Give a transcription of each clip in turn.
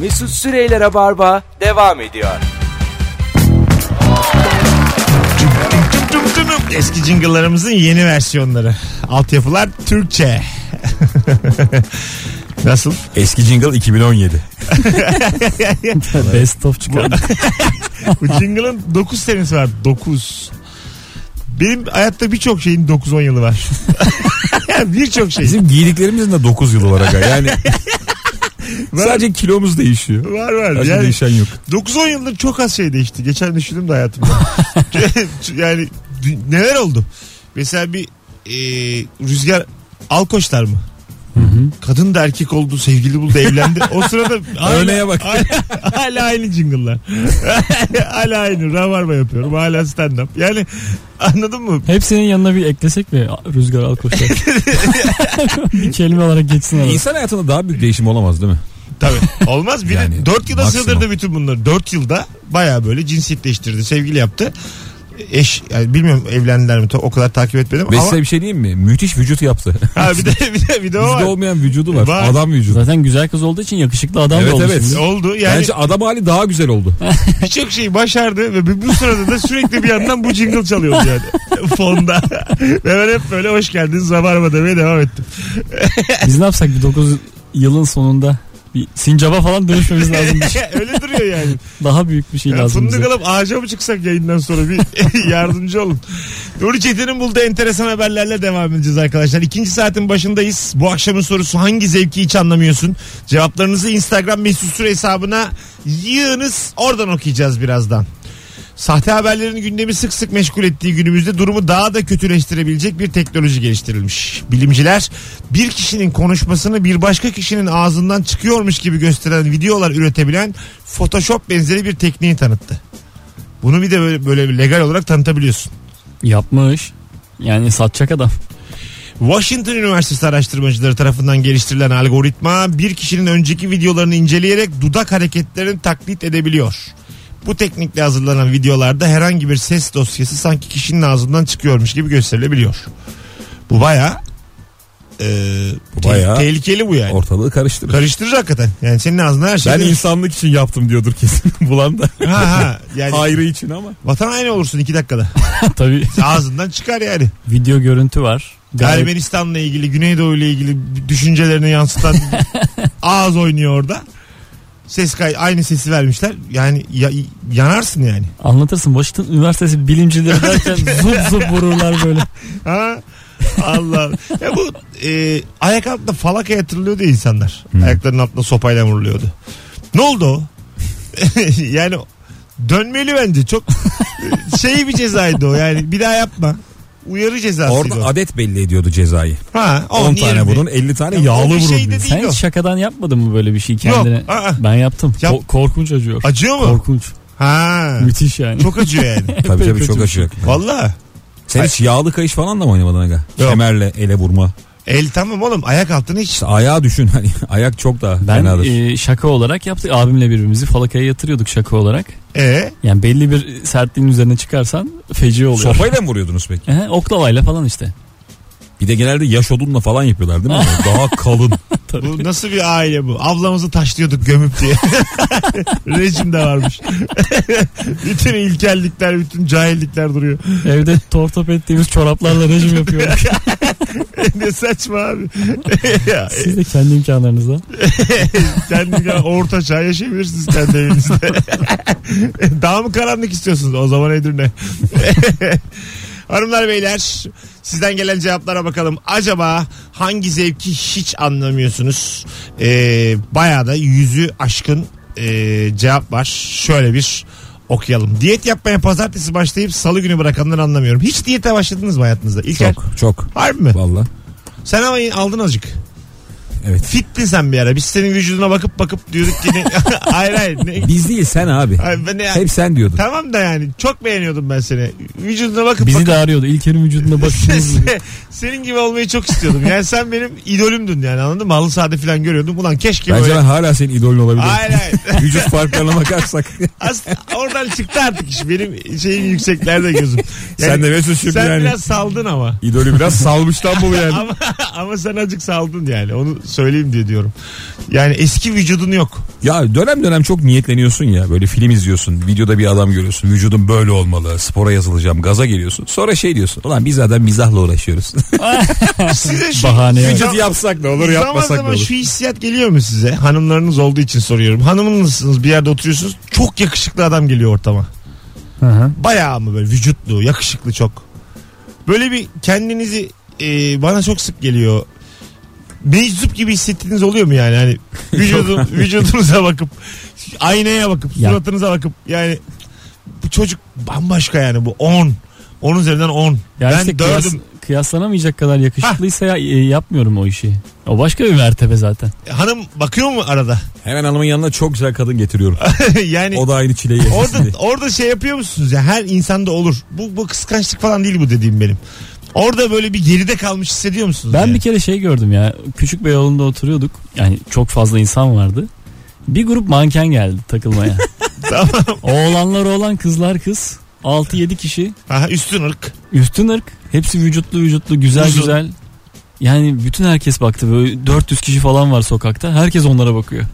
Mesut Süreyler'e barba devam ediyor. Eski jingle'larımızın yeni versiyonları. Altyapılar Türkçe. Nasıl? Eski jingle 2017. Best of çıkardık. Bu jingle'ın 9 senesi var. 9. Benim hayatta birçok şeyin 9-10 yılı var. birçok şey. Bizim giydiklerimizin de 9 yıl olarak. ha. Yani sadece kilomuz değişiyor. Var var. Başka Yani değişen yok. 9-10 yıldır çok az şey değişti. Geçen düşündüm de hayatımda. yani dü- neler oldu? Mesela bir e, rüzgar alkoşlar mı? Kadın da erkek oldu, sevgili buldu, evlendi. O sırada hala, Örneğe bak. Hala, hala aynı jingle'lar. hala aynı. Ravarma yapıyorum. Hala stand-up. Yani anladın mı? Hepsinin yanına bir eklesek mi? Rüzgar Alkoçlar. bir kelime olarak geçsin. arada. İnsan hayatında daha büyük değişim olamaz değil mi? Tabii. Olmaz. Bir de Yani 4 yılda maksimum. sığdırdı bütün bunları. 4 yılda baya böyle cinsiyet değiştirdi. Sevgili yaptı. Eş yani bilmiyorum evlendiler mi ta- o kadar takip etmedim Ve ama size bir şey diyeyim mi? Müthiş vücut yaptı. ha, bir de bir de, bir de o Bizde var. olmayan vücudu var. Var. Adam vücudu. Zaten güzel kız olduğu için yakışıklı adam Evet, da oldu evet. şimdi. E, oldu yani Bence adam hali daha güzel oldu. birçok şeyi başardı ve bu- bu sırada da sürekli bir yandan bu jingle çalıyordu yani fonda ve ben hep böyle hoş geldiniz rabarba demeye devam ettim. Biz ne yapsak bir 9 yılın sonunda bir sincaba falan dönüşmemiz lazım. Öyle duruyor yani. Daha büyük bir şey Ya lazım bize. Fındık alıp ağaca mı çıksak yayından sonra bir yardımcı olun. Nuri Çetin'in bulduğu enteresan haberlerle devam edeceğiz arkadaşlar. İkinci saatin başındayız. Bu akşamın sorusu hangi zevki hiç anlamıyorsun? Cevaplarınızı Instagram mesut süre hesabına yığınız. Oradan okuyacağız birazdan. Sahte haberlerin gündemi sık sık meşgul ettiği günümüzde durumu daha da kötüleştirebilecek bir teknoloji geliştirilmiş. Bilimciler bir kişinin konuşmasını bir başka kişinin ağzından çıkıyormuş gibi gösteren videolar üretebilen Photoshop benzeri bir tekniği tanıttı. Bunu bir de böyle, böyle bir legal olarak tanıtabiliyorsun. Yapmış. Yani satacak adam. Washington Üniversitesi araştırmacıları tarafından geliştirilen algoritma bir kişinin önceki videolarını inceleyerek dudak hareketlerini taklit edebiliyor. Bu teknikle hazırlanan videolarda herhangi bir ses dosyası sanki kişinin ağzından çıkıyormuş gibi gösterilebiliyor. Bu baya Bu bayağı- tehlikeli bu yani. Ortalığı karıştırır. Karıştırır hakikaten. Yani senin ağzına her şey. Ben insanlık için yaptım diyordur kesin bulan da. ha, ha. Yani Hayrı için ama. vatan aynı olursun iki dakikada. Tabii Ağzından çıkar yani. video görüntü var. Gayet Ermenistan'la ilgili, Güneydoğu ile ilgili düşüncelerini yansıtan ağız oynuyor orada. Ses kay aynı sesi vermişler. Yani ya- yanarsın yani. anlatırsın. Washington Üniversitesi bilimcileri derken zıp zıp vururlar böyle. Ha? Allah. ya bu e, ayak altında falaka yatırılıyordu ya insanlar. Ayaklarının altında sopayla vuruluyordu. Ne oldu o? yani dönmeli bence. Çok şey bir cezaydı o. Yani bir daha yapma. Uyarı cezasıydı Orada o. adet belli ediyordu cezayı. Ha, 10 tane 20. bunun 50 tane Ah, Ya o yağlı bir vurun. şey de diyor. değil Sen o. hiç şakadan yapmadın mı böyle bir şey kendine? Yok, aa. Ben yaptım. Yap. Ko- korkunç acıyor. Acıyor mu? Korkunç. Ha. Müthiş yani. Çok acıyor yani. Tabii tabii çok Kötü. aşık. Valla. Sen hiç yağlı kayış falan da mı oynamadın aga? Yok. Kemerle ele vurma. El tamam oğlum ayak altını hiç. İşte ayağı düşün hani ayak çok daha Ben fenadır. e, şaka olarak yaptık. Abimle birbirimizi falakaya yatırıyorduk şaka olarak. Ee, Yani belli bir sertliğin üzerine çıkarsan feci oluyor. Sopayla mı vuruyordunuz peki? Ehe, oklavayla falan işte. Bir de genelde yaş odunla falan yapıyorlar değil mi? daha kalın. bu nasıl bir aile bu? Ablamızı taşlıyorduk gömüp diye. Rejim de varmış. bütün ilkellikler, bütün cahillikler duruyor. Evde tortop ettiğimiz çoraplarla rejim yapıyorduk. ne saçma abi. Ya, Siz de kendi imkanlarınızla. Kendi kadar orta çağ yaşayabilirsiniz kendi evinizde. Daha mı karanlık istiyorsunuz? O zaman Edirne. Hanımlar beyler sizden gelen cevaplara bakalım. Acaba hangi zevki hiç anlamıyorsunuz? Ee, bayağı da yüzü aşkın ee, cevap var. Şöyle bir okuyalım. Diyet yapmaya pazartesi başlayıp salı günü bırakanları anlamıyorum. Hiç diyete başladınız mı hayatınızda? İlker. çok çok. Harbi mi? Valla. Sen ama aldın azıcık. Evet. Fittin sen bir ara. Biz senin vücuduna bakıp bakıp diyorduk ki ne... hayır hayır. Ne... Biz değil sen abi. Ay, ben ne- Hep sen diyordun. Tamam da yani çok beğeniyordum ben seni. Vücuduna bakıp Bizi bakıp. de arıyordu. İlker'in vücuduna bakışınız. senin gibi olmayı çok istiyordum. Yani sen benim idolümdün yani anladın mı? Halı sahada falan görüyordum. Ulan keşke Bence böyle. ben hala senin idolün olabilirim. Hayır hayır. Vücut farklarına bakarsak. Aslında oradan çıktı artık iş. Benim şeyim yükseklerde gözüm. Yani sen de Mesut şimdi sen yani. biraz saldın ama. İdolü biraz salmıştan bu yani. ama. Ama sen acık saldın yani. Onu Söyleyeyim diye diyorum. Yani eski vücudun yok. Ya dönem dönem çok niyetleniyorsun ya. Böyle film izliyorsun. Videoda bir adam görüyorsun. Vücudum böyle olmalı. Spora yazılacağım. Gaza geliyorsun. Sonra şey diyorsun. Ulan biz zaten mizahla uğraşıyoruz. Size şu Bahane yani. Vücut yapsak ne olur yapmasak zaman ne zaman olur. şu hissiyat geliyor mu size? Hanımlarınız olduğu için soruyorum. Hanımınızsınız bir yerde oturuyorsunuz. Çok yakışıklı adam geliyor ortama. Hı hı. Bayağı mı böyle vücutlu, yakışıklı çok. Böyle bir kendinizi e, bana çok sık geliyor. Meczup gibi hissettiğiniz oluyor mu yani? Hani vücudun, vücudunuza bakıp, aynaya bakıp, Ya. suratınıza bakıp yani bu çocuk bambaşka yani bu 10. 10 üzerinden 10. Yani ben işte kıyas- dördüm. kıyaslanamayacak kadar yakışıklıysa ya- e, yapmıyorum o işi. O başka bir mertebe zaten. Hanım bakıyor mu arada? Hemen hanımın yanına çok güzel kadın getiriyorum. yani O da aynı çileyi Orada yaşasın diye. orada şey yapıyor musunuz ya her insanda olur. Bu bu kıskançlık falan değil bu dediğim benim. Orada böyle bir geride kalmış hissediyor musunuz? Ben yani? bir kere şey gördüm ya. Küçük bir yolunda oturuyorduk. Yani çok fazla insan vardı. Bir grup manken geldi takılmaya. tamam. Oğlanlar oğlan kızlar kız. 6-7 kişi. Aha, üstün ırk. Üstün ırk. Hepsi vücutlu vücutlu güzel Uzun. güzel. Yani bütün herkes baktı böyle 400 kişi falan var sokakta. Herkes onlara bakıyor.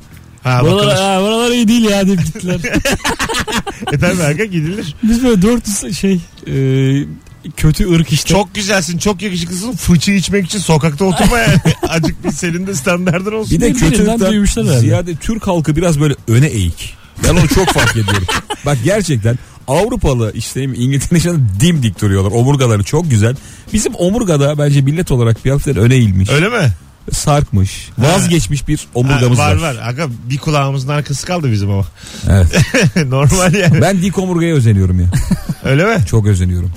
Ha buralar, bakılır. ha, buralar iyi değil ya deyip gittiler. E tabii erkek gidilir. Biz böyle 400 şey e, kötü ırk işte. Çok güzelsin, çok yakışıklısın. Fıçı içmek için sokakta oturma yani. Acık bir senin de standardın olsun. Bir de Birinden duymuşlar kötülükten herhalde. ziyade Türk halkı biraz böyle öne eğik. Ben onu çok fark ediyorum. Bak gerçekten Avrupalı işte İngiltere'nin yanında dimdik duruyorlar. Omurgaları çok güzel. Bizim omurgada bence millet olarak bir hafiften öne eğilmiş. Öyle mi? Sarkmış. Vazgeçmiş bir Ha, omurgamız var var. var. Aga bir kulağımızın arkası kaldı bizim ama. Evet. Normal yani. Ben dik omurgaya özeniyorum ya. Öyle mi? Çok özeniyorum.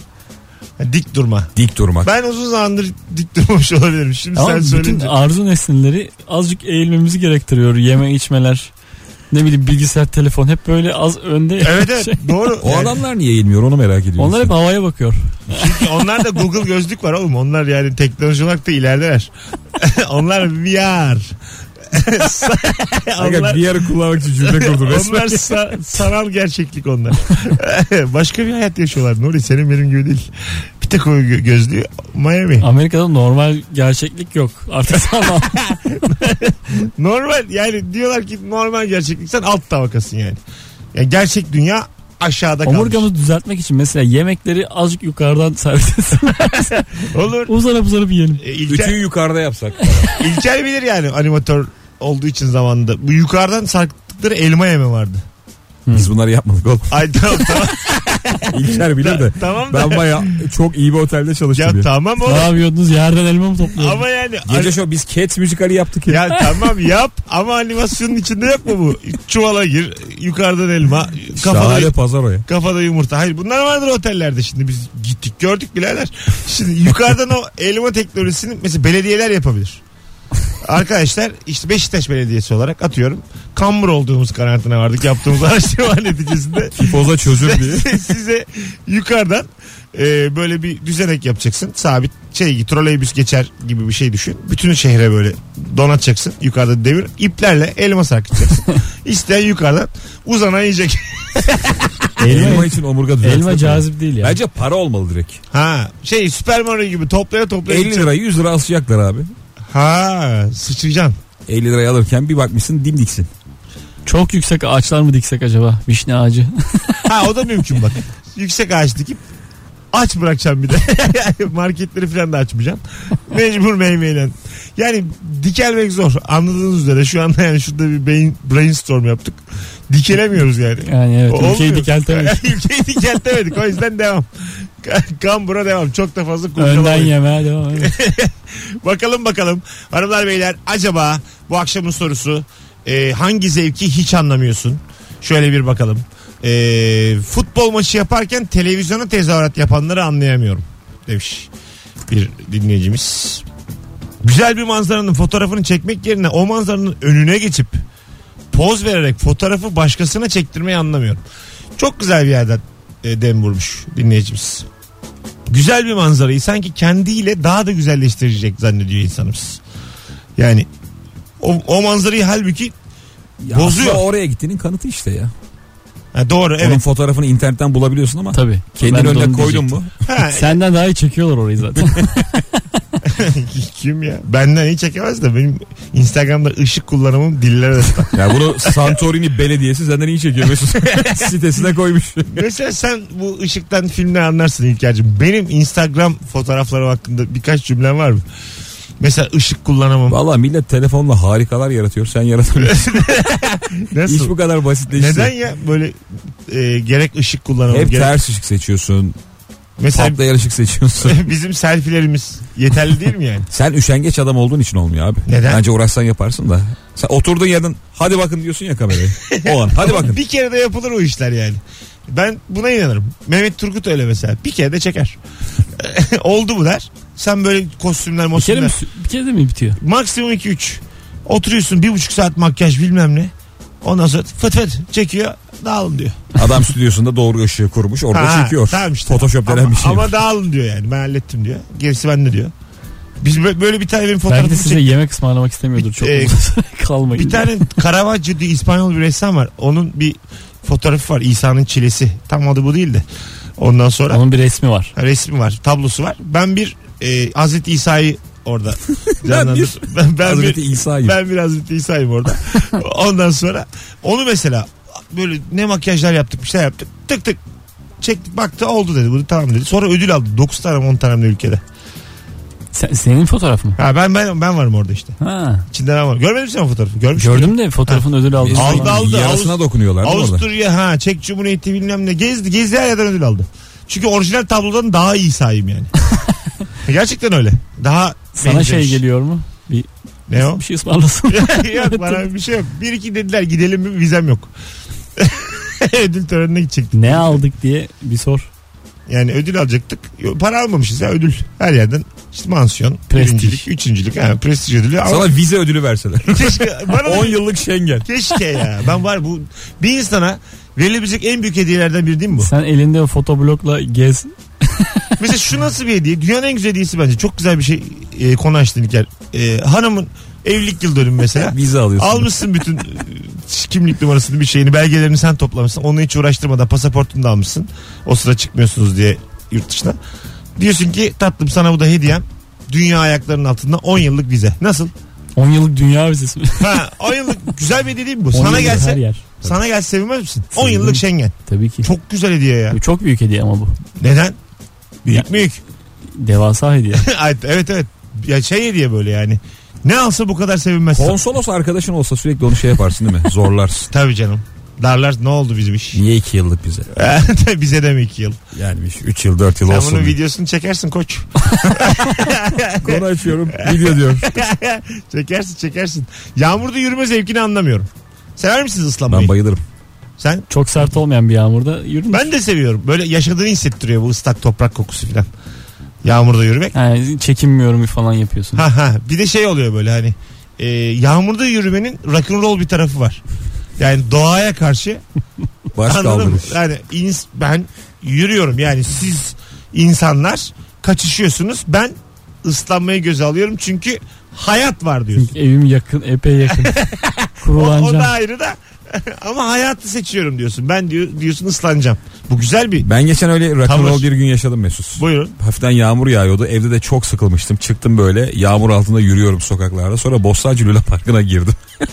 Dik durma. Dik durmak. Ben uzun zamandır dik durmamış olabilirim. Şimdi Ama sen bütün söyleyince. arzu nesneleri azıcık eğilmemizi gerektiriyor. Yeme içmeler. Ne bileyim bilgisayar, telefon hep böyle az önde. Evet evet şey. doğru. O Yani- adamlar niye eğilmiyor onu merak ediyorum. Onlar hep havaya bakıyor. Onlar da Google gözlük var oğlum. Onlar yani teknoloji olarak da ilerideler. Onlar VR. onlar, bir yarı kullanmak için cümle kurdu onlar sa- sanal gerçeklik onlar. Başka bir hayat yaşıyorlar Nuri. Senin benim gibi değil. Bir tek o gö- gözlüğü Miami. Amerika'da normal gerçeklik yok. Artık sanal. Normal yani diyorlar ki normal gerçeklik. Sen alt tabakasın yani. yani gerçek dünya aşağıda kalmış. Omurgamızı düzeltmek için mesela yemekleri azıcık yukarıdan servis etsin. Olur. uzanıp uzanıp yiyelim. E, Ütüyü İlker, yukarıda yapsak. İlker bilir yani animatör olduğu için zamanında. Bu yukarıdan sarktıkları elma yeme vardı. Biz bunları yapmadık oğlum. Ay tamam tamam. İlker bilir de. tamam da. Ben baya çok iyi bir otelde Ya çalıştım ya. tamam oğlum. Ne yapıyordunuz? Yerden elma mı topluyordunuz? Ama yani Gece şov biz Cats müzikali yaptık ya. ya tamam yap ama animasyonun içinde yapma bu. Çuvala gir, yukarıdan elma, kafada Şahane pazar o ya. kafada yumurta. Hayır bunlar vardır otellerde şimdi biz gittik gördük birader. Şimdi yukarıdan o elma teknolojisini mesela belediyeler yapabilir. Arkadaşlar işte Beşiktaş Belediyesi olarak atıyorum kambur olduğumuz kanaatine vardık yaptığımız araştırma neticesinde Tipoza çözüm diye. size yukarıdan e, böyle bir düzenek yapacaksın. Sabit şey troleybüs geçer gibi bir şey düşün. Bütün şehre böyle donatacaksın. Yukarıda devir iplerle elma sarkıtacaksın. İsteyen yukarıdan uzanan yiyecek. Elma elma, için omurga düzeltmek. elma cazip değil ya. Bence para olmalı direkt. ha şey Super Mario gibi toplaya toplaya. 50 gidecek. lira 100 lira asacaklar abi. Ha sıçrayacaksın. 50 lirayı alırken bir bakmışsın dimdiksin. Çok yüksek ağaçlar mı diksek acaba? Vişne ağacı. Ha o da mümkün bak. Yüksek ağaç dikip aç bırakacaksın bir de. Marketleri falan da açmayacaksın. Mecbur meymeyle. Yani dikelmek zor. Anladığınız üzere şu anda yani şurada bir beyin brainstorm yaptık. Dikelemiyoruz yani. Yani evet Olmuyor. ülkeyi dikeltemeyiz. Ülkeyi dikeltemedik. O yüzden devam. Kambura devam. Çok da fazla Önden kurcalamayın. yemeye devam et. Bakalım bakalım. Hanımlar beyler acaba bu akşamın sorusu e, hangi zevki hiç anlamıyorsun? Şöyle bir bakalım. E, futbol maçı yaparken televizyona tezahürat yapanları anlayamıyorum demiş bir dinleyicimiz. Güzel bir manzaranın fotoğrafını çekmek yerine o manzaranın önüne geçip poz vererek fotoğrafı başkasına çektirmeyi anlamıyorum. Çok güzel bir yerden e, dem vurmuş dinleyicimiz güzel bir manzarayı sanki kendiyle daha da güzelleştirecek zannediyor insanımız. Yani o, o manzarayı halbuki Ya Bozuyor. aslında oraya gittiğinin kanıtı işte ya. ha doğru Onun evet. fotoğrafını internetten bulabiliyorsun ama Tabii. kendin Ben de önüne onu koydun diyecektim. mu? Ha, Senden daha iyi çekiyorlar orayı zaten. Kim ya? Benden iyi çekemez de benim Instagram'da ışık kullanımım dillere de. Ya bunu Santorini Belediyesi senden iyi çekiyor Mesut. Sitesine koymuş. Mesela sen bu ışıktan filmden anlarsın İlker'cim. Benim Instagram fotoğraflarım hakkında birkaç cümlem var mı? Mesela ışık kullanamam. Valla millet telefonla harikalar yaratıyor. Sen yaratamıyorsun. İş Nasıl? bu kadar basitleşti. Neden ya böyle e, gerek ışık kullanamam. Hep gerek- ters ışık seçiyorsun. Mesela Patlayan ışık seçiyorsun. bizim selfilerimiz yeterli değil mi yani? Sen üşengeç adam olduğun için olmuyor abi. Neden? Bence uğraşsan yaparsın da. Sen oturduğun yerden hadi bakın diyorsun ya kameraya. O an hadi bakın. Bir kere de yapılır o işler yani. Ben buna inanırım. Mehmet Turgut öyle mesela. Bir kere de çeker. Oldu bu der. Sen böyle kostümler Bir kere, mi, mostümler. bir kere de mi bitiyor? Maksimum 2-3. Oturuyorsun bir buçuk saat makyaj bilmem ne. Ondan sonra fıt fıt çekiyor. Dağılın diyor. Adam stüdyosunda doğru ışığı kurmuş orada Ha, çekiyor. tamam işte. Photoshop denen Ama, bir şey. ama dağılın diyor yani. Ben hallettim diyor. Gerisi bende diyor. Biz bö- böyle bir tane benim Belki de fotoğrafımı size çek- yemek ısmarlamak istemiyordur. Çok Ee, uzun süre kalmayın. Bir tane Caravaggio diye İspanyol bir ressam var. Onun bir fotoğrafı var. İsa'nın çilesi. Tam adı bu değil de. Ondan sonra. Onun bir resmi var. resmi var, tablosu var. Ben bir e, Hazreti İsa'yı orada canlandır. ben, ben Hazreti bir İsa'yı. ben bir Hazreti İsa'yım orada. Ondan sonra onu mesela böyle ne makyajlar yaptık bir şey yaptık. Tık tık çektik baktı oldu dedi. Bunu tamam dedi. Sonra ödül aldı. 9 tane 10 tane mi ne ülkede. Sen- senin fotoğraf mı? Ha ben ben ben varım orada işte. Ha. İçinden ben varım. Görmedin mi sen o fotoğrafı? Görmüşsün. Gördüm de fotoğrafın ödül aldığını. Mesut'un falan. Aldı, aldı. Yarasına Avust- dokunuyorlar değil mi orada? Avusturya ha Çek Cumhuriyeti bilmem ne gezdi gezdi her yerden ödül aldı. Çünkü orijinal tablodan daha iyi sahibim yani. Gerçekten öyle. Daha Sana şey benzemiş. geliyor mu? Bir, Ne o? bir şey ısmarlasın. yok bana bir şey yok. Bir iki dediler gidelim mi vizem yok. ödül törenine gidecektik. ne aldık diye bir sor. Yani ödül alacaktık. Yok, Para almamışız ya ödül. Her yerden işte mansiyon, Prestij. birincilik, üçüncülük. Ha, prestij ödülü. Ama Sana vize ödülü verseler. keşke, bana da- 10 yıllık Schengen. keşke ya. Ben var bu bir insana verilebilecek en büyük hediyelerden biri değil mi bu? Sen elinde o fotoblokla gez. Mesela şu nasıl bir hediye? Dünyanın en güzel hediyesi bence. Çok güzel bir şey e, konu açtın İlker. E, hanımın evlilik yıl dönümü mesela. Vize alıyorsun. Almışsın bütün e, kimlik numarasını bir şeyini belgelerini sen toplamışsın. Onu hiç uğraştırmadan pasaportunu da almışsın. O sıra çıkmıyorsunuz diye yurt dışına. Diyorsun ki tatlım sana bu da hediyem. Dünya ayaklarının altında 10 yıllık vize. Nasıl? 10 yıllık dünya vizesi. Ha, 10 yıllık güzel bir hediye değil mi bu? 10 Sana yıllık Her gelse yer. sana gelse sevinmez misin? 10 Sevinirim. yıllık Schengen. Tabii ki. Çok, Çok güzel hediye ya. çok büyük hediye ama bu. Neden? Büyük Ya- büyük. Devasa hediye. Ay, evet evet. Ya şey hediye böyle yani. Ne alsa bu kadar sevinmezsin. Konsolos arkadaşın olsa sürekli onu şey yaparsın değil mi? Zorlarsın. Tabii canım. Darlar ne oldu bizim iş? Niye 2 yıllık bize? Bize de mi iki yıl? Yani 3 yıl 4 yıl Sen olsun. bunun diye. videosunu çekersin koç. Konu açıyorum. Video diyor. çekersin çekersin. Yağmurda yürüme zevkini anlamıyorum. Sever misiniz ıslanmayı? Ben bayılırım. Sen? Çok sert olmayan bir yağmurda yürüdüm. Ben de seviyorum. Böyle yaşadığını hissettiriyor bu ıslak toprak kokusu falan. Yağmurda yürümek. Yani çekinmiyorum falan yapıyorsun. Ha ha. Bir de şey oluyor böyle hani e, yağmurda yürümenin rock'n'roll bir tarafı var. Yani doğaya karşı Baş Anladın mı? kaldırır. Yani ins- ben yürüyorum yani siz insanlar kaçışıyorsunuz. Ben ıslanmayı göze alıyorum çünkü hayat var diyorsun. Evim yakın, epey yakın. O, o da Kurulanacağım. ayrı da ama hayatı seçiyorum diyorsun. Ben diyor, diyorsun ıslanacağım. Bu güzel bir Ben geçen öyle rock'n'roll Tavır. bir gün yaşadım Mesut. buyurun. Hafiften yağmur yağıyordu. Evde de çok sıkılmıştım. Çıktım böyle yağmur altında yürüyorum sokaklarda. Sonra Bostancı Luna Parkı'na girdim.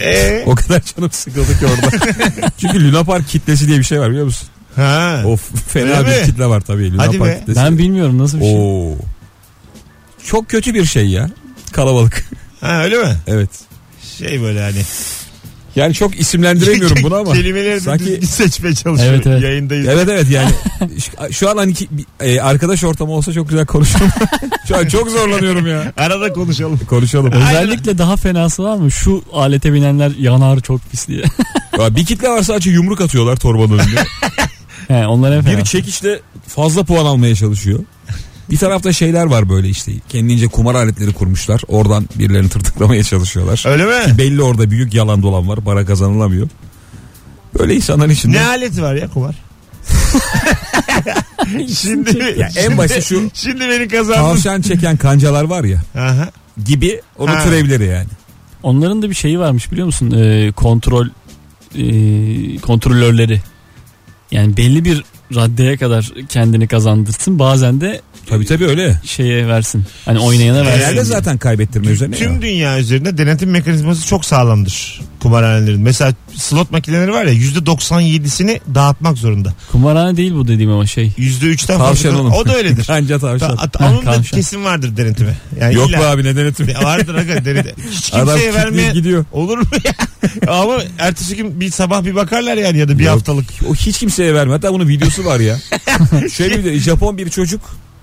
Ee, O kadar canım sıkıldı ki orada. Çünkü Luna Park kitlesi diye bir şey var biliyor musun? ha. Of fena Öyle bir mi? kitle var tabii. Luna Hadi Park be. kitlesi. Ben bilmiyorum nasıl bir şey. Oo. Çok kötü bir şey ya. Kalabalık. ha öyle mi? evet. Şey böyle hani. Yani çok isimlendiremiyorum bunu ama. Kelimeleri Sanki- Sanki... seçmeye çalışıyorum. Evet, evet. Yayındayız. Evet evet yani şu, şu an hani ki- bir- e, arkadaş ortamı olsa çok güzel konuşurum. şu an çok zorlanıyorum ya. Arada konuşalım. Konuşalım. Özellikle daha fenası var mı? Şu alete binenler yanar çok pis diye. Ya bir kitle varsa sadece yumruk atıyorlar torbanın önüne. He, onlar en fena. Biri çekişte fazla puan almaya çalışıyor. Bir tarafta şeyler var böyle işte kendince kumar aletleri kurmuşlar. Oradan birilerini tırtıklamaya çalışıyorlar. Öyle mi? Belli orada büyük yalan dolan var. Para kazanılamıyor. Böyle insanların içinde. Ne aleti var ya kumar? şimdi, Ya en başı şu- Şimdi beni kazandın. Tavşan çeken kancalar var ya Aha. gibi onun Ha. türevleri yani. Onların da bir şeyi varmış biliyor musun? Ee, kontrol ee, kontrolörleri. Yani belli bir raddeye kadar kendini kazandırsın. Bazen de Tabii tabii öyle. şeye versin. Hani oynayana Herhalde versin. zaten kaybettirme üzerine. Tüm ya. dünya üzerinde denetim mekanizması çok sağlamdır kumarhanelerin. Mesela slot makineleri var ya %97'sini dağıtmak zorunda. Kumarhane değil bu dediğim ama şey. %3'ten Tavşan fazla. oğlum. O da öyledir. Anca Ta- tavşan. at- Onun da Tavşan. kesin vardır denetimi. Yani Yok illa- be abi ne denetim. Vardır aga denetim. Hiç Adam kimseye vermeye kitleyip gidiyor. olur mu ya? Ama ertesi gün bir sabah bir bakarlar yani ya da bir Yok. haftalık. O hiç kimseye verme. Hatta bunun videosu var ya. Şöyle bir de Japon bir çocuk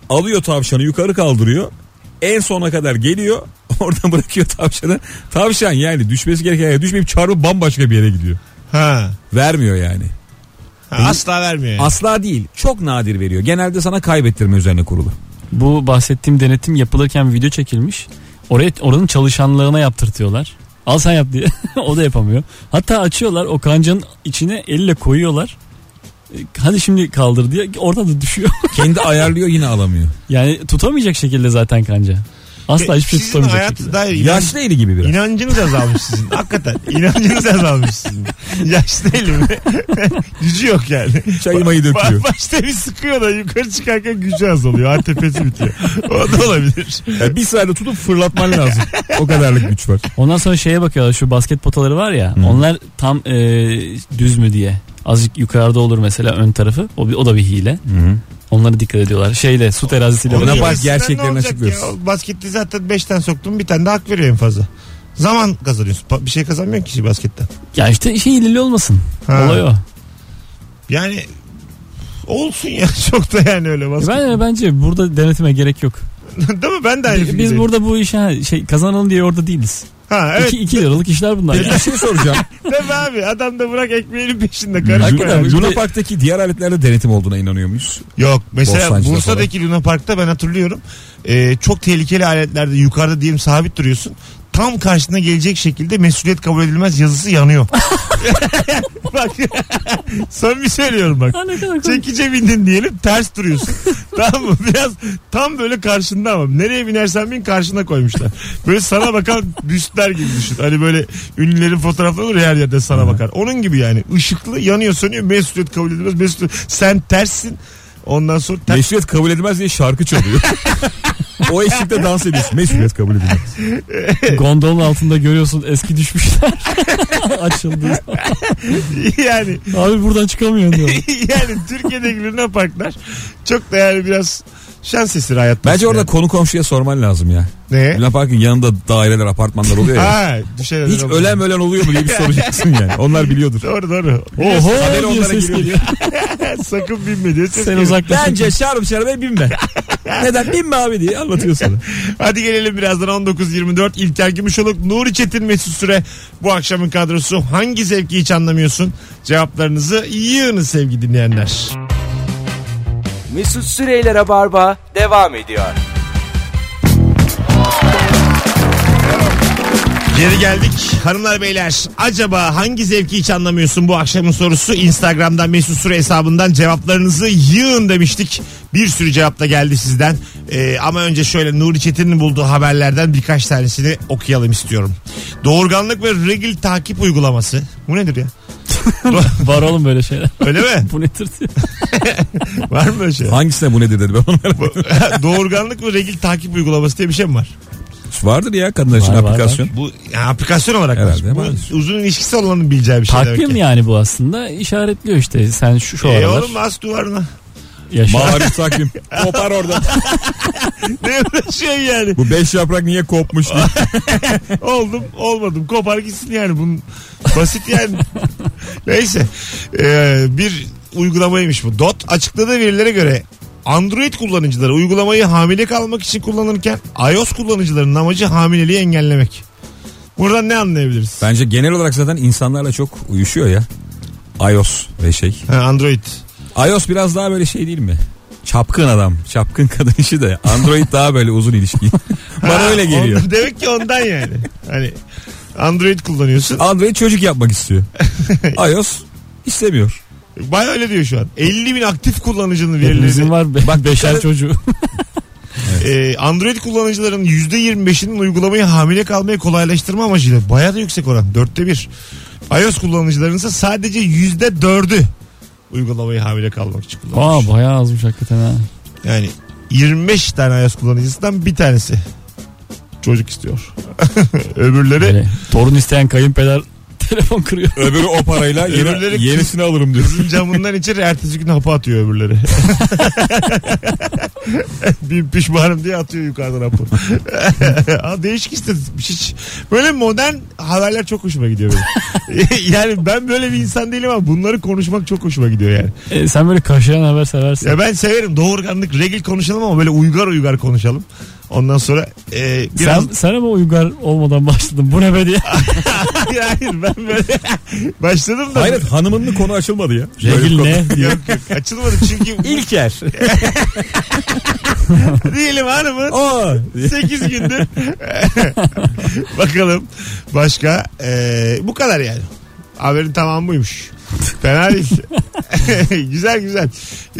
alıyor tavşanı yukarı kaldırıyor. En sona kadar geliyor. Oradan bırakıyor tavşanı. Tavşan yani düşmesi gereken yere düşmeyip çarpıp bambaşka bir yere gidiyor. Ha. Vermiyor yani. Ha, asla vermiyor. yani. Asla değil. Çok nadir veriyor. Genelde sana kaybettirme üzerine kurulu. Bu bahsettiğim denetim yapılırken video çekilmiş. Oraya oranın çalışanlarına yaptırtıyorlar. Al sen yap diye. o da yapamıyor. Hatta açıyorlar o kancanın içine elle koyuyorlar. E, Hadi şimdi kaldır diye orada da düşüyor. Kendi ayarlıyor yine alamıyor. yani tutamayacak şekilde zaten kanca. Asla E, hiçbir şey sizin tutamayacak hayatı şekilde. dair inan- Yaşlı eli gibi biraz. inancınız azalmış sizin. Hakikaten inancınız azalmış sizin. Yaşlı elim. Gücü yok yani. Çayı mayı döküyor. Ba- başta bir sıkıyor da yukarı çıkarken gücü azalıyor. ATP'si bitiyor. O da olabilir. Yani bir saniye tutup fırlatman lazım. O kadarlık güç var. Ondan sonra şeye bakıyorlar şu basket potaları var ya. Onlar tam e, düz mü diye. Azıcık yukarıda olur mesela ön tarafı. O, bir- o da bir hile. Onlara dikkat ediyorlar. Şeyle su terazisiyle. Ona Onun bak, yarısından gerçeklerini ne olacak açıklıyoruz. ya? O Baskette zaten 5 tane soktum bir tane de hak veriyor en fazla. Zaman kazanıyorsun. Pa- Bir şey kazanmıyorsun ki basketten. Ya işte şey hileli olmasın. Ha. Olay o. Yani olsun ya çok da yani öyle basket. E Ben bence burada denetime gerek yok. Değil mi? Ben de aynı Biz fikirdeyim. burada bu işe ha, şey kazanalım diye orada değiliz. Ha evet. 2 iki, iki liralık işler bunlar. Peki bir şey soracağım. Değil mi abi? Adam da bırak ekmeğinin peşinde karışma. Hakikaten yani. bu- Luna Park'taki diğer aletlerde denetim olduğuna inanıyor muyuz? Yok mesela Bostancı'da Bursa'daki Luna Park'ta ben hatırlıyorum. Ee, çok tehlikeli aletlerde yukarıda diyelim sabit duruyorsun. Tam karşına gelecek şekilde mesuliyet kabul edilmez yazısı yanıyor. bak samimi söylüyorum bak. Ha, ne kadar komik. Çekice bindin diyelim ters duruyorsun. tamam mı? Biraz tam böyle karşında ama. Nereye binersen bin karşına koymuşlar. Böyle sana bakan büstler gibi düşün. Hani böyle ünlülerin fotoğrafları olur ya, her yerde sana bakar. Onun gibi yani. Işıklı yanıyor sönüyor. Mesuliyet kabul edilmez. Mesuliyet. Sen terssin. Ondan sonra ters Meşruiyet kabul edilmez diye şarkı çalıyor. o eşlikte dans ediyorsun. Meşruiyet kabul edilmez. Gondolun altında görüyorsun eski düşmüşler. Açıldı. yani Abi buradan çıkamıyorsun diyor. yani Türkiye'deki Luna Parklar çok da yani biraz şans eseri hayat. Bence orada yani. konu komşuya sorman lazım ya. ne? Luna Park'ın yanında daireler, apartmanlar oluyor ya. Ha, düşen Hiç ölen ölen oluyor mu diye bir soracaksın yani. Onlar biliyordur. Doğru doğru. Oh, Oho Haberi diye onlara ses geliyor. geliyor. Sakın binme diyor. Ses Sen geliyor. uzaklaşın. şarım şarabaya binme. Neden binme abi diye anlatıyor sana. Hadi gelelim birazdan 19.24 İlker Gümüşoluk, Nuri Çetin Mesut Süre bu akşamın kadrosu. Hangi zevki hiç anlamıyorsun? Cevaplarınızı yığınız sevgili dinleyenler. Mesut Süreyler'e barba devam ediyor. Geri geldik. Hanımlar beyler acaba hangi zevki hiç anlamıyorsun bu akşamın sorusu Instagram'dan Mesut Süre hesabından cevaplarınızı yığın demiştik. Bir sürü cevap da geldi sizden. Ee, ama önce şöyle Nuri Çetin'in bulduğu haberlerden birkaç tanesini okuyalım istiyorum. Doğurganlık ve regl takip uygulaması. Bu nedir ya? Var oğlum böyle şeyler. Öyle mi? Bu nedir diye. Var mı öyle şey? Hangisine bu nedir dedi ben onlara. Doğurganlık ve regl takip uygulaması diye bir şey mi var? Vardır ya kadınlar için Var, var, aplikasyon. Bu yani aplikasyon olarak Herhalde var. Bu vardır. uzun ilişkisi olanın bileceği bir şey demek Takvim ki. yani bu aslında. işaretliyor işte. Sen şu, şu E aralar oğlum as duvarına. yaşa. Marif takvim. Kopar oradan. Ne uğraşıyorsun yani? Bu beş yaprak niye kopmuş diye. Oldum olmadım kopar gitsin yani bunun basit yani. Neyse Ee, bir uygulamaymış bu. DOT açıkladığı verilere göre Android kullanıcıları uygulamayı hamile kalmak için kullanırken iOS kullanıcılarının amacı hamileliği engellemek. Buradan ne anlayabiliriz? Bence genel olarak zaten insanlarla çok uyuşuyor ya. iOS ve şey. Ha, Android. iOS biraz daha böyle şey değil mi? Çapkın adam. Çapkın kadın işi de. Android daha böyle uzun ilişki. Bana Ha, öyle geliyor. ondan- demek ki ondan yani. Hani Android kullanıyorsun. Android çocuk yapmak istiyor. iOS istemiyor. Baya öyle diyor şu an. 50 bin aktif kullanıcının Hepimizin verilerini var be- Bak, beşer tane- çocuğu. e, Android kullanıcıların %25'inin uygulamayı hamile kalmayı kolaylaştırma amacıyla baya da yüksek oran. Dörtte bir. iOS kullanıcıların ise sadece %4'ü uygulamayı hamile kalmak için kullanmış. Aa bayağı azmış hakikaten ha. Yani 25 tane iOS kullanıcısından bir tanesi çocuk istiyor. Öbürleri Böyle torun isteyen kayınpeder telefon kırıyor. Öbürü o parayla yeni- Öbürleri- yenisini alırım diyor. Kızın camından içeri ertesi gün hapı atıyor öbürleri. bir pişmanım diye atıyor yukarıdan hapı. Aa, Değişik istatistikmiş hiç. Böyle modern haberler çok hoşuma gidiyor benim. yani ben böyle bir insan değilim ama bunları konuşmak çok hoşuma gidiyor yani. E, sen böyle kaşıyan haber seversin. Ya ben severim doğurganlık, regil konuşalım ama böyle uygar uygar konuşalım. Ondan sonra e, biraz... Sen, sen ama uygar olmadan başladın. Bu ne be diye. Hayır ben böyle başladım da... Hayret hanımının konu açılmadı ya. Regil ne? Yok yok açılmadım çünkü İlker. diyelim hanımın Aa. 8 gündür. Bakalım başka. Ee, bu kadar yani. Haberin tamamı buymuş. Fena değil. güzel güzel.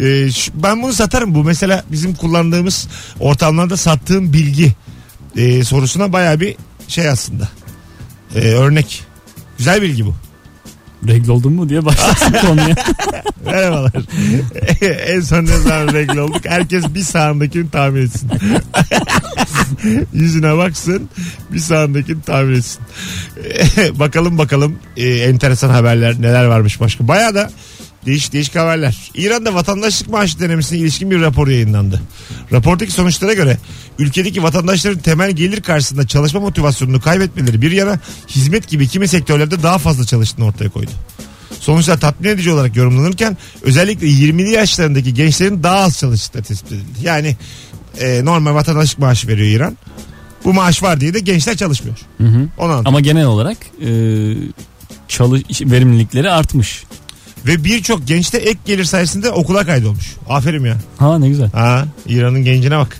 Ee, şu- ben bunu satarım. Bu mesela bizim kullandığımız ortamlarda sattığım bilgi ee, sorusuna baya bir şey aslında. Ee, örnek. Güzel bilgi bu. Regl oldun mu diye başlarsın konuya. Merhabalar. en son ne zaman regl olduk? Herkes bir sağındakini tahmin etsin. Yüzüne baksın bir sağındakini tahmin etsin. bakalım bakalım e, enteresan haberler neler varmış başka. Baya da değişik değişik haberler. İran'da vatandaşlık maaşı denemesine ilişkin bir rapor yayınlandı. Raportaki sonuçlara göre ülkedeki vatandaşların temel gelir karşısında çalışma motivasyonunu kaybetmeleri bir yana hizmet gibi kimi sektörlerde daha fazla çalıştığını ortaya koydu. Sonuçlar tatmin edici olarak yorumlanırken özellikle 20'li yaşlarındaki gençlerin daha az çalıştığı tespit edildi. Yani e, normal vatandaşlık maaşı veriyor İran. Bu maaş var diye de gençler çalışmıyor. Hı hı. Onu anladım. Ama genel olarak e, çalış iş- verimlilikleri artmış. Ve birçok genç de ek gelir sayesinde okula kaydolmuş. Aferin ya. Ha ne güzel. Ha, İran'ın gencine bak.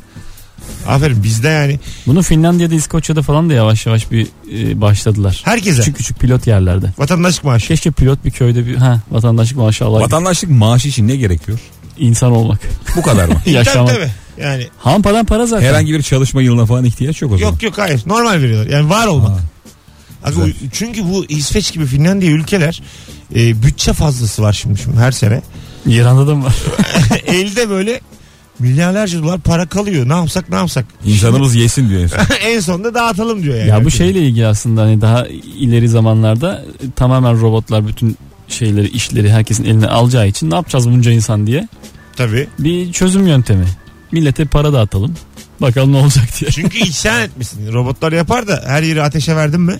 Aferin bizde yani. Bunu Finlandiya'da, İskoçya'da falan da yavaş yavaş bir e, başladılar. Herkese Küçük küçük pilot yerlerde. vatandaşlık maaşı. Keşke pilot bir köyde bir ha vatandaşlık maşallah Vatandaşlık maaşı için ne gerekiyor? insan olmak. Bu kadar mı? Yaşamak. Tabii, tabii. Yani Hampadan para zaten. Herhangi bir çalışma yılına falan ihtiyaç yok o zaman. yok yok hayır. Normal veriyorlar. Yani var olmak. Ha. Abi o- çünkü bu İsveç gibi Finlandiya ülkeler e, bütçe fazlası var şimdi, şimdi her sene. İran'da da mı var? Elde böyle milyarlarca dolar para kalıyor. Ne yapsak ne yapsak. İnsanımız yesin diyor. insan. en sonunda dağıtalım diyor yani. ya bu Herkes. şeyle ilgili aslında hani daha ileri zamanlarda e, tamamen robotlar bütün şeyleri, işleri herkesin eline alacağı için ne yapacağız bunca insan diye Tabii. bir çözüm yöntemi. Millete para dağıtalım. Bakalım ne olacak diye. Çünkü isyan etmişsin. Robotlar yapar da her yeri ateşe verdin mi?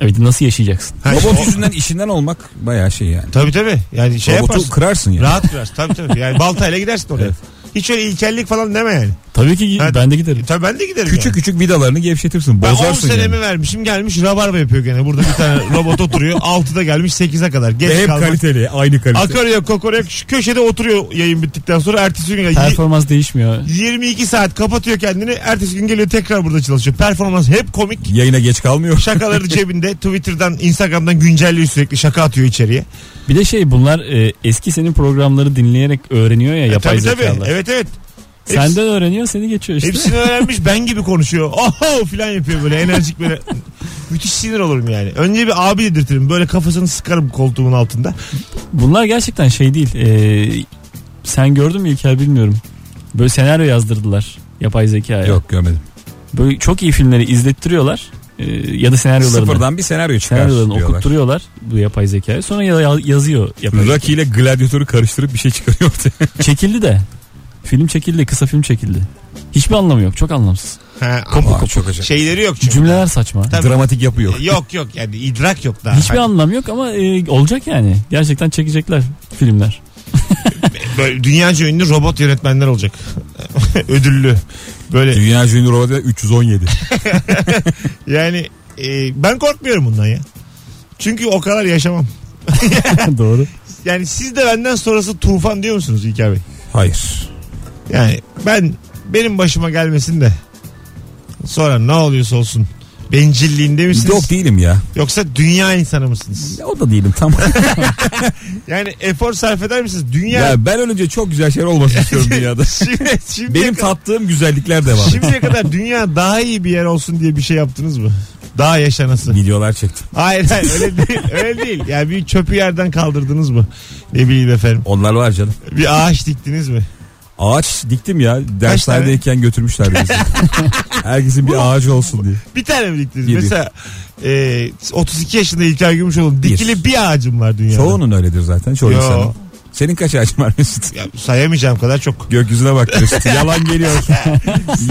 Evet nasıl yaşayacaksın? Ha, işte o- Robot yüzünden işinden olmak bayağı şey yani. Tabii tabii. Yani şey Robotu yaparsın. kırarsın yani. Rahat biraz. Tabii tabii. Yani baltayla gidersin oraya. Evet. Hiç öyle ilkellik falan deme yani. Tabii ki Ha, ben de giderim. Tabii ben de giderim. Küçük yani. küçük vidalarını gevşetirsin. Ben 10 Bozarsın senemi yani. vermişim gelmiş rabarba yapıyor gene. Burada bir tane robot oturuyor. 6'da gelmiş 8'e kadar. Ve Geç hep kalmak. kaliteli. Aynı kalite. Akarıyor kokoreç şu köşede oturuyor yayın bittikten sonra ertesi gün y- Performans değişmiyor. 22 saat kapatıyor kendini. Ertesi gün geliyor tekrar burada çalışıyor. Performans hep komik. Yayına geç kalmıyor. Şakaları cebinde. Twitter'dan, Instagram'dan güncelliyor sürekli. Şaka atıyor içeriye. Bir de şey bunlar e, eski senin programları dinleyerek öğreniyor E, ya yapay E, tabii tabii. zekalar. Evet evet. Hepsi- Senden öğreniyor seni geçiyor işte. Hepsini öğrenmiş ben gibi konuşuyor. Oho filan yapıyor böyle enerjik böyle. Müthiş sinir olurum yani. Önce bir abi dedirtirim. Böyle kafasını sıkarım koltuğumun altında. Bunlar gerçekten şey değil. Ee, sen gördün mü İlker bilmiyorum. Böyle senaryo yazdırdılar yapay zekaya. Yok görmedim. Böyle çok iyi filmleri izlettiriyorlar. Ee, ya da senaryolarını. Sıfırdan bir senaryo çıkar Senaryolarını diyorlar. okutturuyorlar bu yapay zekaya. Sonra ya, ya- yazıyor yapay zeka. Rocky ile gladyatörü karıştırıp bir şey çıkarıyor ortaya. Çekildi de. Film çekildi, kısa film çekildi. Hiçbir anlamı yok, çok anlamsız. Ha, Aa, çok acayip. şeyleri yok çünkü. Cümleler saçma. Tabii. Dramatik yapı yok. Yok yok yani idrak yok daha. Hani Hiçbir anlamı yok ama e, olacak yani. Gerçekten çekecekler filmler. Böyle dünyaca ünlü robot yönetmenler olacak. Ödüllü. Böyle Dünya Junior Ova'da 317. yani e, ben korkmuyorum bundan ya. Çünkü o kadar yaşamam. Doğru. Yani siz de benden sonrası tufan diyor musunuz İlker Bey? Hayır. Yani ben benim başıma gelmesin de sonra ne oluyorsa olsun bencilliğinde misiniz? Yok değilim ya. Yoksa dünya insanı mısınız? O da değilim tam. Yani efor sarf eder misiniz? Dünya ya ben ölünce çok güzel şeyler olmasını istiyorum dünyada. şimdi, şimdi Benim tattığım güzellikler de var. Şimdiye kadar dünya daha iyi bir yer olsun diye bir şey yaptınız mı? Daha yaşanası. Videolar çektim. Hayır hayır öyle değil. Öyle değil. Yani bir çöpü yerden kaldırdınız mı? Ne bileyim efendim. Onlar var canım. Bir ağaç diktiniz mi? Ağaç diktim ya. Derslerdeyken götürmüşler bizi. Herkesin bir ağacı olsun diye. Bir tane mi diktiniz? Yedi. Mesela e, 32 yaşında İlker Gümüşoğlu dikili bir, ağacım var dünyada. Çoğunun öyledir zaten. Çoğu Yo. insanın. Senin kaç ağacın var Mesut? Ya, sayamayacağım kadar çok. Gökyüzüne bak Mesut. Yalan geliyor.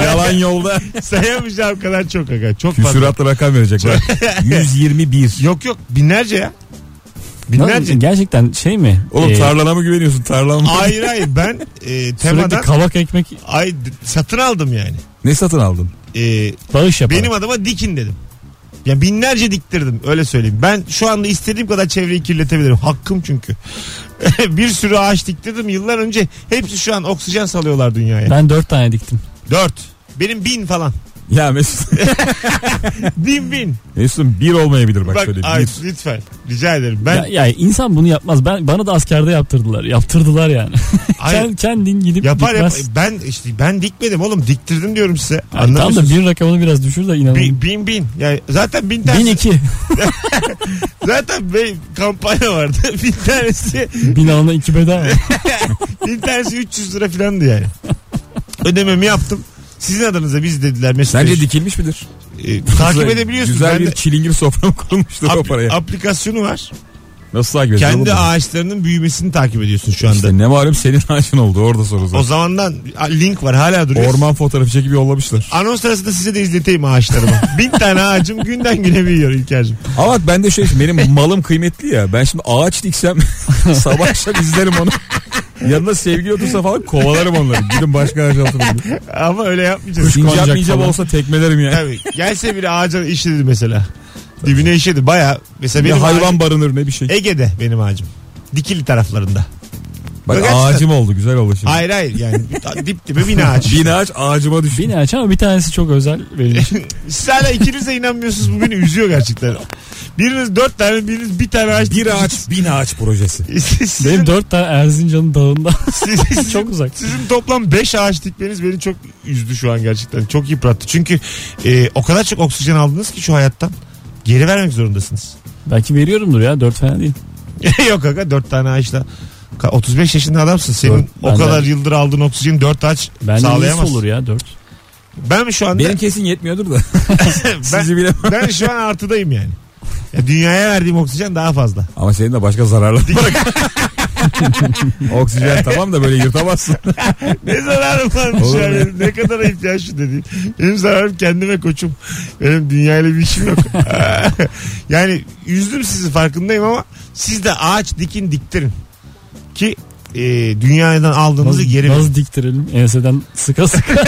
Yalan yolda. sayamayacağım kadar çok aga. Çok fazla. Küsuratla rakam verecek. bak. 121. Yok yok binlerce ya. Nasıl- Binlerce. Gerçekten şey mi? Oğlum Ee, tarlana mı güveniyorsun? Tarlana mı? hayır hayır ben e, Sürekli temadan kavak ekmek ay, d- satın aldım yani. Ne satın aldın? E, bağış yapar. benim adama dikin dedim. Ya binlerce diktirdim öyle söyleyeyim. Ben şu anda istediğim kadar çevreyi kirletebilirim. Hakkım çünkü. bir sürü ağaç diktirdim yıllar önce. Hepsi şu an oksijen salıyorlar dünyaya. Ben dört tane diktim. Dört. Benim bin falan. Ya Mesut. Bin bin. Mesut'un bir olmayabilir bak, Bak, şöyle. ay, Bir. lütfen. Rica ederim. Ben Ya, ya insan bunu yapmaz. Ben bana da askerde yaptırdılar. Yaptırdılar yani. Hayır. Sen kendin gidip yapar yap- dikmez. ben işte ben dikmedim oğlum diktirdim diyorum size. Ay, tamam da Anlamıyorsunuz. bir rakamını biraz düşür de inanın. Bin, bin bin. Yani zaten bin tane. Bin iki. Zaten bir kampanya vardı. bin tanesi Bin alana iki bedava. bin tanesi 300 lira filandı yani. Ödememi yaptım. Sizin adınıza biz dediler Mesut Sence Bey. dikilmiş midir? Ee, takip Güzel- edebiliyorsun. Güzel Ben bir de çilingir sofra mı kurulmuştur o apl- paraya? aplikasyonu var. Nasıl takip ediyorsun? Kendi oğlum? ağaçlarının büyümesini takip ediyorsun şu anda. İşte ne malum senin ağacın oldu orada soru O zaten. zamandan a, link var hala duruyor. Orman fotoğrafı çekip yollamışlar. Anons arasında size de izleteyim ağaçlarımı. bin tane ağacım günden güne büyüyor İlker'cim. Ama ben de şey benim malım kıymetli ya. Ben şimdi ağaç diksem sabah akşam izlerim onu. Yanına sevgili otursa falan kovalarım onları. Gidin başka ağaç altına. gidin. Ama öyle yapmayacağız. Kuş İnce konacak yapmayacağım falan. olsa tekmelerim ya. Tabii. Gelse bile ağaca işedir mesela. Dibine işedi. Baya mesela Ne benim hayvan ağacım- E, barınır ne bir şey. Ege'de benim ağacım. Dikili taraflarında. Bak Bak ağacım oldu güzel oldu şimdi. Hayır hayır yani ta- dip dibe bin ağaç. Bin ağaç ağacıma düştü. Bin aç ama bir tanesi çok özel verilmiş. Siz hala ikiniz de inanmıyorsunuz bu beni üzüyor gerçekten. Biriniz dört tane biriniz bir tane ağaç. Bir ağaç bin ağaç projesi. Siz- sizin, Benim dört tane Erzincan'ın dağında. siz- sizin- çok uzak. Sizin toplam 5 ağaç dikmeniz beni çok üzdü şu an gerçekten. Çok yıprattı. Çünkü e, o kadar çok oksijen aldınız ki şu hayattan. Geri vermek zorundasınız. Belki veriyorumdur ya dört tane değil. Yok aga 4 tane ağaçla. Ka- 35 yaşında adamsın. Senin Dört- o kadar benden- yıldır aldığın oksijeni 4 ağaç Benden iyisi sağlayamazsın. olur ya dört. Ben mi şu anda Benim kesin yetmiyordur da. ben, Sizi bilemem. ben şu an artıdayım yani. Ya dünyaya verdiğim oksijen daha fazla. Ama senin de başka zararlar var. Oksijen tamam da böyle yırtamazsın. Ne zararım varmış Olur ya mu? benim. Ne kadar ayıp ya şu dediğim. Benim zararım kendime koçum. Benim dünyayla bir işim yok. yani üzdüm sizi farkındayım ama siz de ağaç dikin diktirin. Ki e, dünyadan aldığınızı Nasıl, geri verin. nasıl diktirelim? Enseden sıka sıka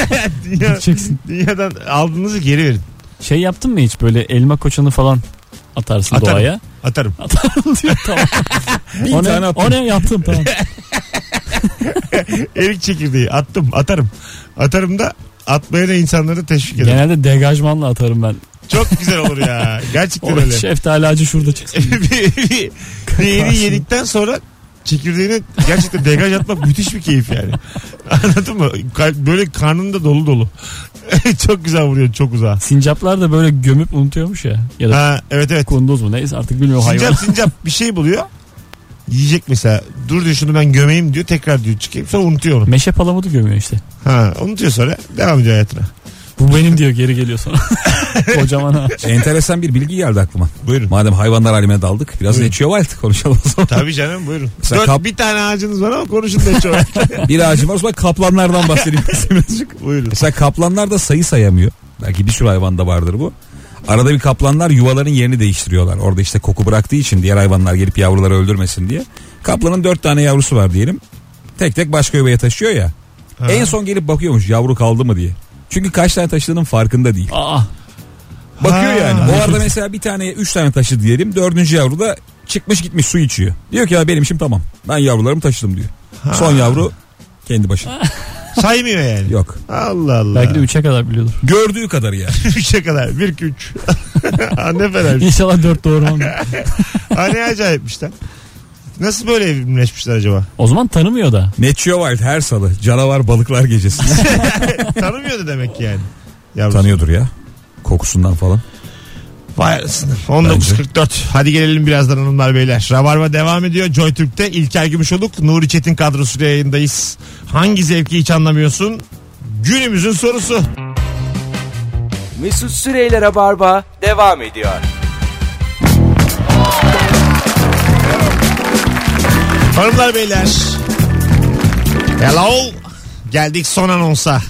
Dünya, dikeceksin. dünyadan aldığınızı geri verin. Şey yaptın mı hiç böyle elma koçanı falan atarsın Atarım. doğaya? Atarım. Atarım diyor tamam. Bin o, tane ne, attım. o ne yaptım tamam. Erik çekirdeği attım atarım. Atarım da atmaya da insanları teşvik ederim. Genelde degajmanla atarım ben. Çok güzel olur ya. Gerçekten O öyle. şeftali ağacı şurada çıksın. bir, bir, bir yeri yedikten sonra çekirdeğini gerçekten degaj atmak müthiş bir keyif yani. Anladın mı? Kalp- Böyle karnında dolu dolu. çok güzel vuruyor çok uzağa. Sincaplar da böyle gömüp unutuyormuş ya. Ya da Ha, evet evet. kunduz mu neyse artık bilmiyorum hayvan. Sincap sincap bir şey buluyor. Yiyecek mesela. Dur diyor şunu ben gömeyim diyor. Tekrar diyor çıkayım. Sonra unutuyor onu. Meşe palamudu gömüyor işte. Ha, unutuyor sonra. Devam ediyor hayatına. Bu benim diyor geri geliyor sonra. Kocaman ağaç. Enteresan bir bilgi geldi aklıma. Buyurun. Madem hayvanlar alemine daldık biraz Buyurun. Nature Wild konuşalım o zaman. Tabii canım buyurun. Mesela Dört, kap- bir tane ağacınız var ama konuşun da çok. bir ağacım var o zaman kaplanlardan bahsedeyim size birazcık. buyurun. Mesela kaplanlar da sayı sayamıyor. Belki bir sürü hayvanda vardır bu. Arada bir kaplanlar yuvaların yerini değiştiriyorlar. Orada işte koku bıraktığı için diğer hayvanlar gelip yavruları öldürmesin diye. Kaplanın dört tane yavrusu var diyelim. Tek tek başka yuvaya taşıyor ya. Ha. En son gelip bakıyormuş yavru kaldı mı diye. Çünkü kaç tane taşıdığının farkında değil. Aa, Bakıyor Ha. yani. O arada mesela bir tane üç tane taşıdı diyelim. Dördüncü yavru da çıkmış gitmiş su içiyor. Diyor ki ya benim işim tamam. Ben yavrularımı taşıdım diyor. Son yavru kendi başına. Saymıyor yani. Yok. Allah Allah. belki de 3'e kadar biliyordur. Gördüğü kadar yani. Üçe kadar. Bir iki üç. Ha, ne fena bir şey. İnşallah 4 doğurmam. Ha, ne acayipmiş lan. Nasıl böyle evrimleşmişler acaba? o zaman tanımıyor da. Nature Wild her salı canavar balıklar gecesi. Tanımıyordu demek ki yani. Yavrusu. Tanıyordur ya. Kokusundan falan. Vay arasını. 19.44. Hadi gelelim birazdan hanımlar beyler. Rabarba devam ediyor. Joy Türk'te İlker Gümüşoluk, Nuri Çetin kadrosuyla yayındayız. Hangi zevki hiç anlamıyorsun? Günümüzün sorusu. Mesut Süreyler'e barba devam ediyor. Hanımlar beyler. Hello. Geldik son anonsa.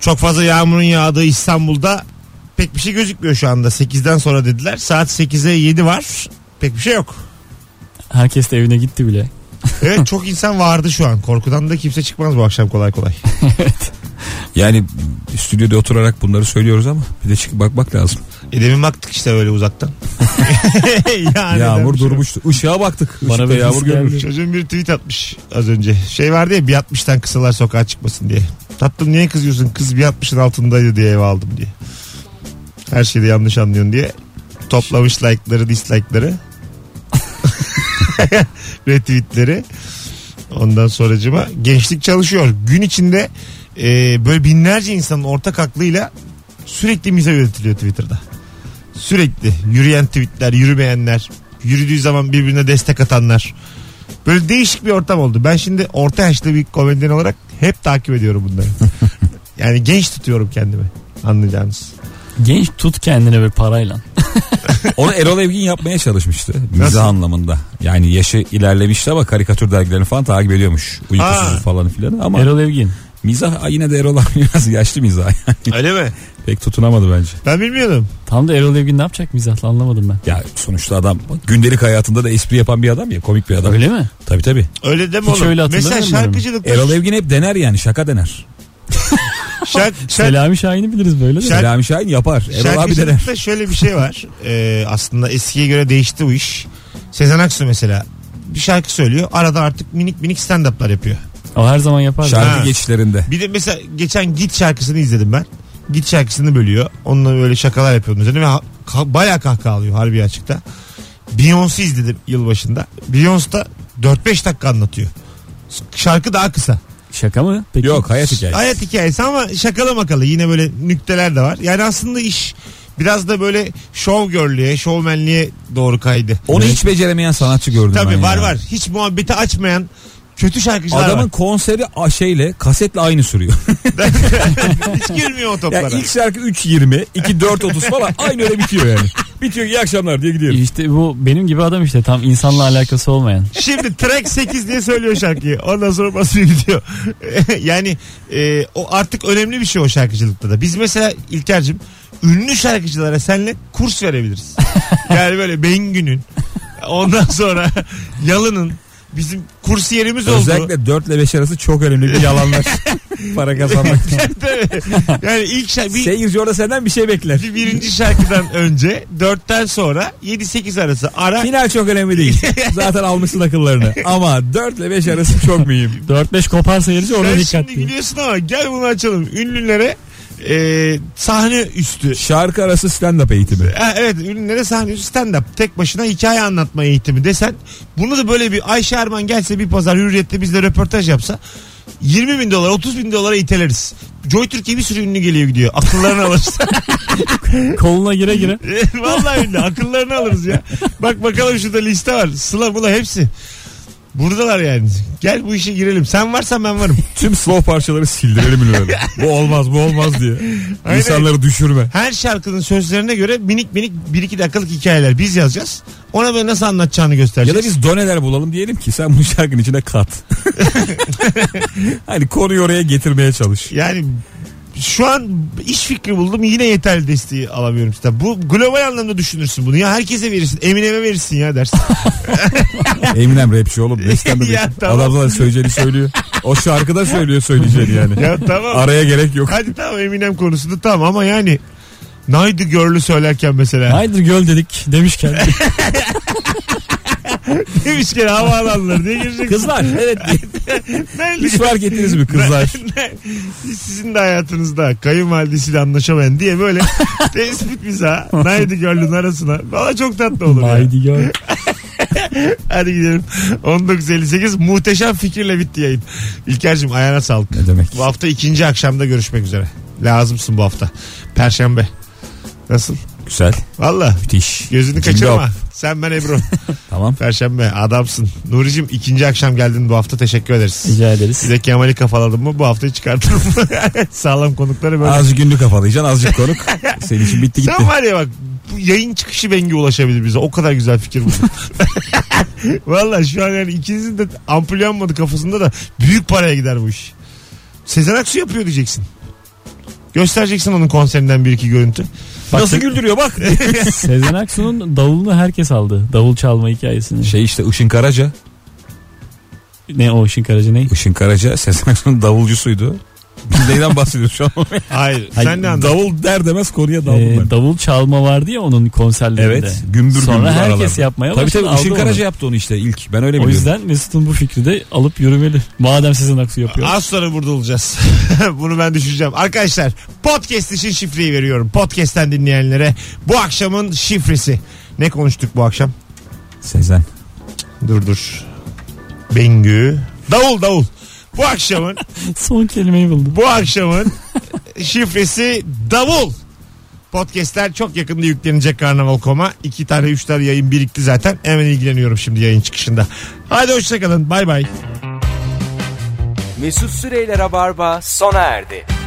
Çok fazla yağmurun yağdığı İstanbul'da pek bir şey gözükmüyor şu anda. 8'den sonra dediler. Saat 8'e 7 var. Pek bir şey yok. Herkes de evine gitti bile. Evet çok insan vardı şu an. Korkudan da kimse çıkmaz bu akşam kolay kolay. Yani stüdyoda oturarak bunları söylüyoruz ama bir de çıkıp bakmak lazım. E demin baktık işte böyle uzaktan. yani yağmur demiş. durmuştu. Işığa baktık. şey Bana Işıkta bir yağmur his görmüş. geldi. Çocuğun bir tweet atmış az önce. Şey vardı ya bir 60'tan kısalar sokağa çıkmasın diye. Tatlım niye kızıyorsun? Kız bir 60'ın altındaydı diye eve aldım diye. Her şeyi de yanlış anlıyorsun diye. Toplamış like'ları, dislike'ları. Retweet'leri. Ondan sonracıma gençlik çalışıyor. Gün içinde e, böyle binlerce insanın ortak aklıyla sürekli mize üretiliyor Twitter'da. Sürekli yürüyen tweetler, yürümeyenler, yürüdüğü zaman birbirine destek atanlar. Böyle değişik bir ortam oldu. Ben şimdi orta yaşlı bir komedyen olarak hep takip ediyorum bunları. yani genç tutuyorum kendimi. Anlayacağınız. Genç tut kendine bir parayla. Onu Erol Evgin yapmaya çalışmıştı. Nasıl? Mizah anlamında. Yani yaşı ilerlemişti ama karikatür dergilerini falan takip ediyormuş. Ha. Uykusuz falan filan ama Erol Evgin. mizah yine de Erol abi biraz yaşlı mizah. Öyle mi? Pek tutunamadı bence. Ben bilmiyordum. Tam da Erol Evgin ne yapacak mizahla anlamadım ben. Ya sonuçta adam gündelik hayatında da espri yapan bir adam ya komik bir adam. Öyle mi? Tabii tabii. Öyle deme Hiç oğlum. öyle Mesela hatırlamıyorum. şarkıcılıkta Erol Evgin hep dener yani şaka dener. şark, şark, Selami Şahin'i biliriz böyle de. Şer- Selami Şahin yapar. Erol abi dener. Şarkıcılıkta şöyle bir şey var. Ee, aslında eskiye göre değişti bu iş. Sezen Aksu mesela bir şarkı söylüyor. Arada artık minik minik stand-up'lar yapıyor. O her zaman yapar. Şarkı Ha. geçişlerinde. Bir de mesela geçen Git şarkısını izledim ben. Git şarkısını bölüyor. Onunla böyle şakalar yapıyordum üzerine ve ha- ka- bayağı kahkaha alıyor harbi açıkta. Beyoncé izledim yılbaşında. Beyoncé da 4-5 dakika anlatıyor. Şarkı daha kısa. Şaka mı? Peki. Yok hayat hikayesi. Hayat hikayesi ama şakalı makalı yine böyle nükteler de var. Yani aslında iş biraz da böyle şov görlüğe, şovmenliğe doğru kaydı. Onu hiç beceremeyen sanatçı gördüm ben Tabii ya. var var. Hiç muhabbeti açmayan kötü şarkıcılar Adamın konseri a- şeyle kasetle aynı sürüyor. var. Hiç girmiyor o toplara. Yani ilk şarkı 3.20, 2.4.30 falan aynı öyle bitiyor yani. Bitiyor iyi akşamlar diye gidiyorum. İşte bu benim gibi adam işte tam insanla alakası olmayan. Şimdi track 8 diye söylüyor şarkıyı. Ondan sonra basıyor gidiyor. yani e, o artık önemli bir şey o şarkıcılıkta da. Biz mesela İlker'cim ünlü şarkıcılara seninle kurs verebiliriz. yani böyle Bengü'nün ondan sonra Yalın'ın bizim kurs yerimiz oldu. Özellikle 4 ile 5 arası çok önemli bir yalanlar. Para kazanmak için. Tabii. yani ilk şarkı bir, Seyirci orada senden bir şey bekler. bir birinci şarkıdan önce dörtten sonra 7-8 arası ara Final çok önemli değil. Zaten almışsın akıllarını. Ama 4 ile 5 arası çok mühim. 4-5 koparsa yeriz Sen orada dikkat şimdi değil. gülüyorsun ama gel bunu açalım. Ünlülere e, sahne üstü Şarkı arası stand-up eğitimi. Ha, evet ürünlere sahne stand up tek başına hikaye anlatma eğitimi desen bunu da böyle bir Ayşe Erman gelse bir pazar hürriyette bizle röportaj yapsa 20 bin dolar 30 bin dolara iteleriz. Joy Türkiye bir sürü ünlü geliyor gidiyor. Akıllarını alırız. Koluna gire gire. Vallahi ünlü akıllarını alırız ya. Bak bakalım şurada liste var. Sıla bula hepsi. Buradalar yani. Gel bu işe girelim. Sen varsan ben varım. Tüm slow parçaları sildirelim ünlüleri. bu olmaz bu olmaz diye. Aynen. İnsanları düşürme. Her şarkının sözlerine göre minik minik 1-2 dakikalık hikayeler biz yazacağız. Ona böyle nasıl anlatacağını Ya göstereceğiz. da biz doneler bulalım diyelim ki sen bu şarkının içine kat. hani konuyu oraya getirmeye çalış. Yani şu an iş fikri buldum yine yeterli desteği alamıyorum işte. Bu global anlamda düşünürsün bunu. Ya herkese verirsin. Eminem'e verirsin ya dersin. Eminem rapçi oğlum. Besten de Ya rapçi. tamam. Adam zaten söyleyeceğini söylüyor. O şarkıda söylüyor söyleyeceğini yani. ya tamam. Araya gerek yok. Hadi tamam Eminem konusunda tamam ama yani Naydı Girl'ü söylerken mesela. Haydi göl dedik demişken. Demiş ki havaalanları diye girecek. Kızlar evet. Nerede- Hiç fark ettiniz mi kızlar? Sizin de hayatınızda kayınvalidesiyle anlaşamayan diye böyle tespit bize Naydı Girl'ün arasına. Valla çok tatlı olur. ya. Haydi göl. Hadi gidelim. 1958 muhteşem fikirle bitti yayın. İlker'cim ayağına sağlık. Ne demek? Bu hafta ikinci akşamda görüşmek üzere. Lazımsın bu hafta. Perşembe. Nasıl? Güzel. Valla. Müthiş. Gözünü Cimri kaçırma. hap. Sen ben Ebru. Tamam. Perşembe adamsın. Nuricim ikinci akşam geldin bu hafta teşekkür ederiz. Rica ederiz. Bir de Kemal'i kafaladım mı bu haftayı çıkartırım. Sağlam konukları böyle. Azıcık günlük kafalayacaksın azıcık konuk. Senin için bitti gitti. Sen var ya bak bu yayın çıkışı Bengi ulaşabilir bize. O kadar güzel fikir bu. Valla şu an yani ikinizin de ampul yanmadı kafasında da büyük paraya gider bu iş. Sezen Aksu yapıyor diyeceksin. Göstereceksin onun konserinden bir iki görüntü. Bak, Nasıl Se- güldürüyor bak. Sezen Aksu'nun davulunu herkes aldı. Davul çalma hikayesini. şey işte Işın Karaca. Ne o işin karacı ne? Işın Karaca Sezen Aksu'nun davulcusuydu. Biz neyden bahsediyoruz şu an? Hayır. Hayır, sen ne anladın? Davul der demez konuya daldım Ee, ben. davul çalma vardı ya onun konserlerinde. Evet. Gümbür Sonra gümbür herkes aralarda. yapmaya Tabii başladı, tabii Işın aldı Karaca yaptı onu işte ilk. Ben öyle O biliyorum. yüzden Mesut'un bu fikri de alıp yürümeli. Madem Sezen Aksu yapıyor. Az sonra burada olacağız. Bunu ben düşüreceğim. Arkadaşlar podcast için şifreyi veriyorum. Podcast'ten dinleyenlere bu akşamın şifresi. Ne konuştuk bu akşam? Sezen. Dur dur. Bengü. Davul davul. Bu akşamın Son kelimeyi buldum. bu akşamın şifresi davul. Podcast'ler çok yakında yüklenecek Karnaval.com'a. İki tane üç tane yayın birikti zaten. Hemen ilgileniyorum şimdi yayın çıkışında. Hadi hoşçakalın. Bay bay. Mesut Süreyler'e barba sona erdi.